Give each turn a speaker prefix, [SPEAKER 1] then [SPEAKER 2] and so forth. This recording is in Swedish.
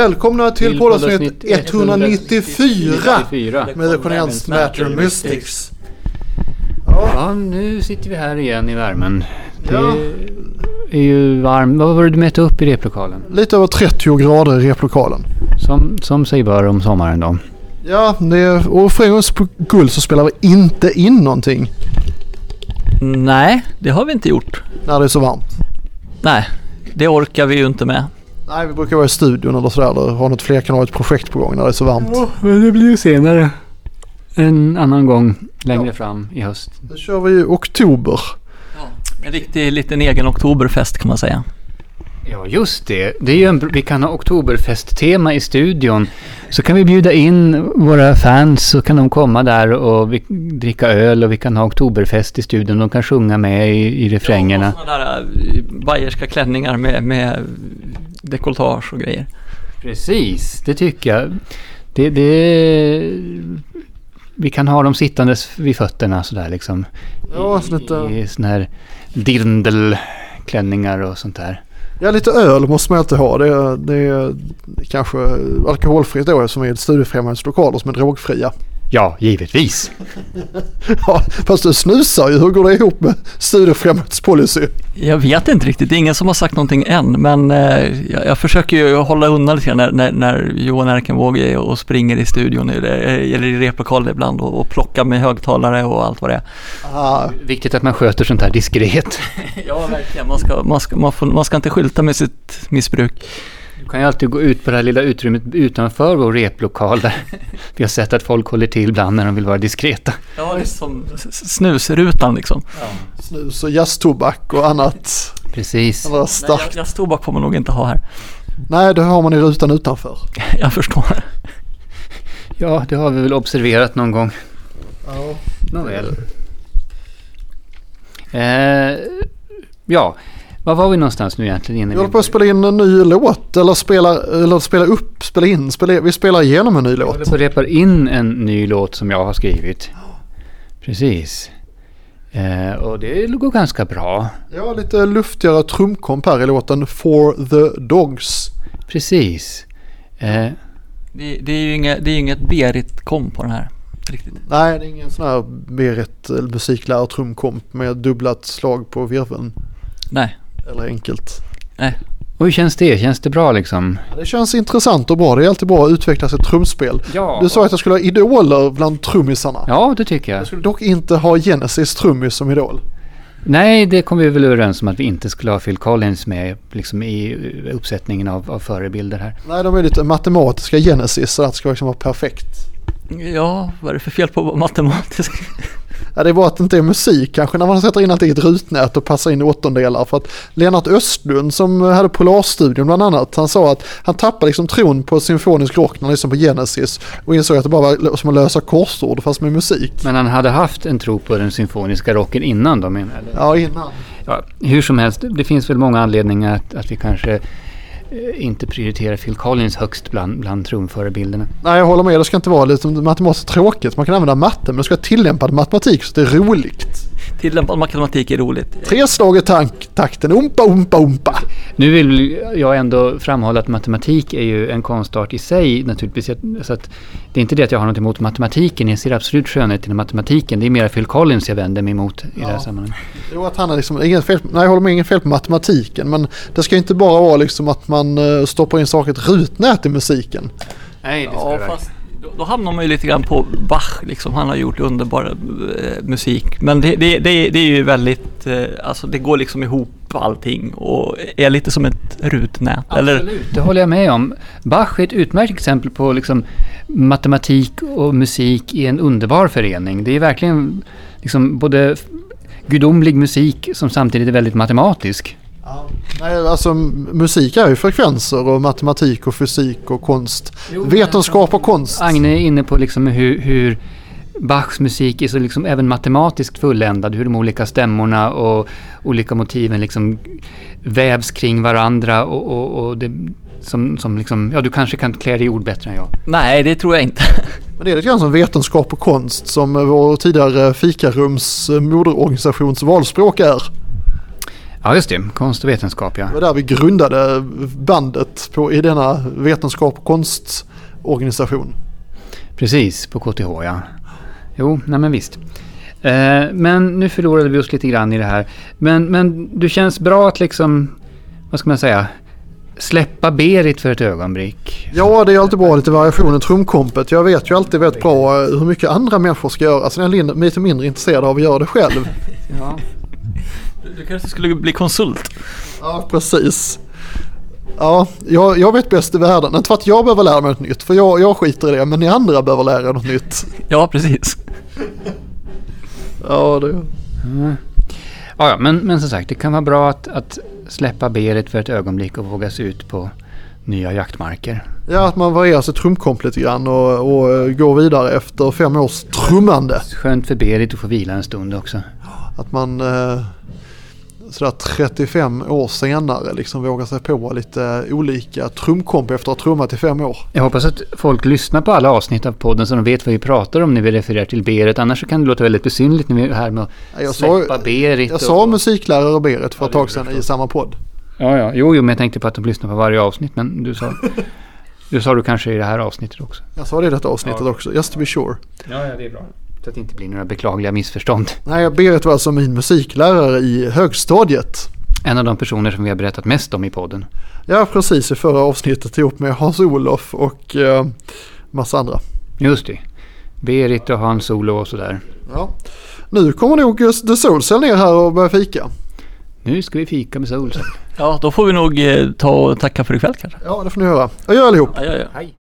[SPEAKER 1] Välkomna till
[SPEAKER 2] Till
[SPEAKER 1] poddavsnitt
[SPEAKER 2] 194
[SPEAKER 1] 194
[SPEAKER 2] 94.
[SPEAKER 1] med The Cornelius Matter Mystics. Ja,
[SPEAKER 2] Ja, nu sitter vi här igen i värmen. Det
[SPEAKER 1] Ja.
[SPEAKER 2] är ju varmt. Vad var det du mätte upp i replokalen?
[SPEAKER 1] lite över 30 grader i replokalen.
[SPEAKER 2] Som, som sig bör om sommaren då.
[SPEAKER 1] Ja, det är, och för en gångs skull så spelar vi inte in någonting
[SPEAKER 3] Nej, det har vi inte gjort.
[SPEAKER 1] när det är så varmt.
[SPEAKER 3] Nej, det orkar vi ju inte med.
[SPEAKER 1] Nej, vi brukar vara i studion eller sådär eller ha något flerkanaligt projekt på gång när det är så varmt.
[SPEAKER 2] men det blir ju senare. En annan gång längre fram i höst.
[SPEAKER 1] Nu kör vi i oktober.
[SPEAKER 3] En riktig liten egen oktoberfest kan man säga.
[SPEAKER 2] Ja, just det. det är ju en, vi kan ha oktoberfesttema i studion. Så kan vi bjuda in våra fans så kan de komma där och vi, dricka öl och vi kan ha oktoberfest i studion. De kan sjunga med i, i refrängerna.
[SPEAKER 3] Ja, och såna där eh, bayerska klänningar med, med dekolletage och grejer.
[SPEAKER 2] Precis, det tycker jag. Det, det, vi kan ha dem sittandes vid fötterna sådär liksom.
[SPEAKER 1] Ja,
[SPEAKER 2] I-
[SPEAKER 1] så lite,
[SPEAKER 2] I sådana här dirndlklänningar och sånt där.
[SPEAKER 1] ja, lite öl måste man alltid ha. Det är, det är kanske alkoholfritt då som är ett studiefrämjandets lokaler som är drogfria.
[SPEAKER 2] Ja, givetvis.
[SPEAKER 1] Ja, fast du snusar ju. Hur går det ihop med studiefrämjandets policy?
[SPEAKER 3] Jag vet inte riktigt, det är ingen som har sagt någonting än, men eh, jag, jag försöker ju hålla undan lite grann när, när, när Johan Erkenvåg är och springer i studion eller, eh, eller i replokalen ibland och, och plockar med högtalare och allt vad det är.
[SPEAKER 1] Ah,
[SPEAKER 2] Viktigt att man sköter sånt här diskret.
[SPEAKER 3] Ja, verkligen. Man ska, man ska, man får, man ska inte skylta med sitt missbruk.
[SPEAKER 2] Du kan ju alltid gå ut på det här lilla utrymmet utanför vår replokal där vi har sett att folk håller till ibland när de vill vara diskreta.
[SPEAKER 3] Ja, det är som snusrutan liksom.
[SPEAKER 1] snus och jazztobak och annat.
[SPEAKER 2] Precis.
[SPEAKER 1] Eller
[SPEAKER 3] Nej,
[SPEAKER 1] starkt.
[SPEAKER 3] jag, jag tobak får man nog inte ha här.
[SPEAKER 1] Nej, det har man i rutan utanför.
[SPEAKER 3] Jag förstår.
[SPEAKER 2] Ja, det har vi väl observerat någon gång.
[SPEAKER 1] Ja.
[SPEAKER 2] Nåväl. Eh, ja, var var vi någonstans nu egentligen? innan
[SPEAKER 1] Vi
[SPEAKER 2] vi
[SPEAKER 1] håller på att spela in en ny låt. Eller spela, eller spela upp, spela in. Spela, vi spelar igenom en ny
[SPEAKER 2] Jag
[SPEAKER 1] låt.
[SPEAKER 2] håller på att repa in en ny låt som jag har skrivit. Precis. Eh, och det går ganska bra.
[SPEAKER 1] Ja, lite luftigare trumkomp här i låten For the Dogs.
[SPEAKER 2] Precis. Eh,
[SPEAKER 3] Det, det är ju inga, det är ju inget Berit-kom på den här. Riktigt.
[SPEAKER 1] Nej, det är ingen sån här Berit eh, musiklärare trumkomp med dubblat slag på virveln.
[SPEAKER 3] Nej.
[SPEAKER 1] Eller enkelt.
[SPEAKER 2] och hur känns det? Känns det bra liksom?
[SPEAKER 1] Ja, det känns intressant och bra. Det är alltid bra att utveckla sitt trumspel.
[SPEAKER 2] Ja.
[SPEAKER 1] Du sa att jag skulle ha idoler bland trummisarna.
[SPEAKER 2] Ja, det tycker jag.
[SPEAKER 1] Jag skulle dock inte ha Genesis trummis som idol.
[SPEAKER 2] Nej, det kom vi väl överens om att vi inte skulle ha Phil Collins med liksom, i eh, uppsättningen av, av förebilder här.
[SPEAKER 1] Nej, de är lite matematiska Genesis så det ska liksom vara perfekt.
[SPEAKER 3] Ja, vad är det för fel på att vara matematisk?
[SPEAKER 1] Ja, det är bara att det inte är musik kanske när man sätter in allt i ett rutnät och passar in åttondelar. För att Lennart Östlund som hade Polarstudion bland annat, han sa att han tappade liksom tron på symfonisk rock när han lyssnade på Genesis och insåg att det bara var som att lösa korsord fast med musik.
[SPEAKER 2] Men han hade haft en tro på den symfoniska rocken innan då menar jag.
[SPEAKER 1] Ja, innan.
[SPEAKER 2] Ja, hur som helst, det finns väl många anledningar att, att vi kanske eh, inte prioriterar Phil Collins högst bland, bland trumförebilderna.
[SPEAKER 1] Nej, jag håller med. Det ska inte vara lite matematiskt tråkigt. Man kan använda matte, men det ska vara tillämpad matematik så det är roligt.
[SPEAKER 3] Tillämpad matematik är roligt.
[SPEAKER 1] Tre slag i tank, takten, umpa, umpa, umpa.
[SPEAKER 2] Nu vill jag ändå framhålla att matematik är ju en konstart i sig naturligtvis. Jag- Så att det är inte det att jag har något emot matematiken, jag ser absolut skönheten i matematiken. Det är mer Phil Collins jag vänder mig emot i det här
[SPEAKER 1] Ja.
[SPEAKER 2] sammanhanget.
[SPEAKER 1] Jo, att han är liksom, inget fel, nej, jag håller med, inget fel på matematiken, men det ska ju inte bara vara liksom att man eh, stoppar in saker i ett rutnät i musiken.
[SPEAKER 2] Nej,
[SPEAKER 3] Ja, fast då, då hamnar man ju lite grann på Bach, liksom. han har gjort underbar eh, musik. Men det, det, det, det är ju väldigt, eh, alltså det går liksom ihop allting och är lite som ett rutnät. Eller,
[SPEAKER 2] Absolut, det håller jag med om. Bach är ett utmärkt exempel på liksom matematik och musik i en underbar förening. Det är verkligen liksom både f- gudomlig musik som samtidigt är väldigt matematisk.
[SPEAKER 1] Nej, alltså m- musik är ju frekvenser och matematik och fysik och konst. Vetenskap och konst.
[SPEAKER 2] Agne är inne på liksom hur, hur Bachs musik är så liksom även matematiskt fulländad, hur de olika stämmorna och olika motiven liksom vävs kring varandra och, och, och det, som, som liksom, ja du kanske kan klä det i ord bättre än jag.
[SPEAKER 3] nej, det tror jag inte.
[SPEAKER 1] Men det är lite grann som vetenskap och konst som eh, vår tidigare fikarums eh, moderorganisations valspråk är.
[SPEAKER 2] Ja, just det. Konst och vetenskap, ja.
[SPEAKER 1] Det var där vi grundade bandet på, i denna vetenskap och konstorganisation.
[SPEAKER 2] Precis, på KTH, ja. Jo, nej men visst. Eh, men nu förlorade vi oss lite grann i det här. Men, men du känns bra att liksom, vad ska man säga, släppa Berit för ett ögonblick.
[SPEAKER 1] Ja, det är alltid bra lite variationer. Trumkompet. Jag vet ju alltid väldigt bra eh, hur mycket andra människor ska göra. Sen är jag lite mindre intresserad av att göra det själv.
[SPEAKER 2] Ja.
[SPEAKER 3] Du, du kanske skulle bli konsult?
[SPEAKER 1] Ja, precis. Ja, jag, jag vet bäst i världen. Inte för att jag behöver lära mig något nytt, för jag, jag skiter i det. Men ni andra behöver lära er något nytt.
[SPEAKER 3] Ja, precis.
[SPEAKER 1] Ja, det...
[SPEAKER 2] Ja, ja, men, men som sagt, det kan vara bra att, att släppa Berit för ett ögonblick och våga sig ut på nya jaktmarker.
[SPEAKER 1] ja att man varierar sitt trumkomp lite grann och, och eh, går vidare efter fem års trummande.
[SPEAKER 2] Skönt för Berit att få vila en stund också.
[SPEAKER 1] Att man eh, sådär 35 år senare liksom vågar sig på lite olika trumkomp efter att ha trummat i fem år.
[SPEAKER 2] Jag hoppas att folk lyssnar på alla avsnitt av podden så de vet vad vi pratar om när vi refererar till Berit. Annars så kan det låta väldigt besynligt när vi är här med
[SPEAKER 1] Ja,
[SPEAKER 2] att
[SPEAKER 1] jag sa-
[SPEAKER 2] släppa Berit.
[SPEAKER 1] Jag sa
[SPEAKER 2] och-
[SPEAKER 1] musiklärare och Berit för ett tag sedan i samma podd.
[SPEAKER 2] Ja, ja. Jo, jo, men jag tänkte på att de lyssnar på varje avsnitt. Men du sa, du sa du kanske i det här avsnittet också.
[SPEAKER 1] Jag sa det i detta avsnittet
[SPEAKER 2] Ja.
[SPEAKER 1] också, just to be sure.
[SPEAKER 2] Ja, ja, det är bra. Så att det inte blir några beklagliga missförstånd.
[SPEAKER 1] Nej, Berit var alltså min musiklärare i högstadiet.
[SPEAKER 2] En av de personer som vi har berättat mest om i podden.
[SPEAKER 1] Ja, precis i förra avsnittet ihop med Hans-Olof och eh, massa andra.
[SPEAKER 2] Just det. Berit och Hans Solo och sådär.
[SPEAKER 1] Ja. Nu kommer nog just The Soulcell ner här och börjar fika.
[SPEAKER 2] Nu ska vi fika med Solsen.
[SPEAKER 3] Ja, då får vi nog eh, ta och tacka för ikväll kanske.
[SPEAKER 1] Ja, det får ni höra. Adjö allihop!
[SPEAKER 3] Ja, ja, ja.
[SPEAKER 2] Hej.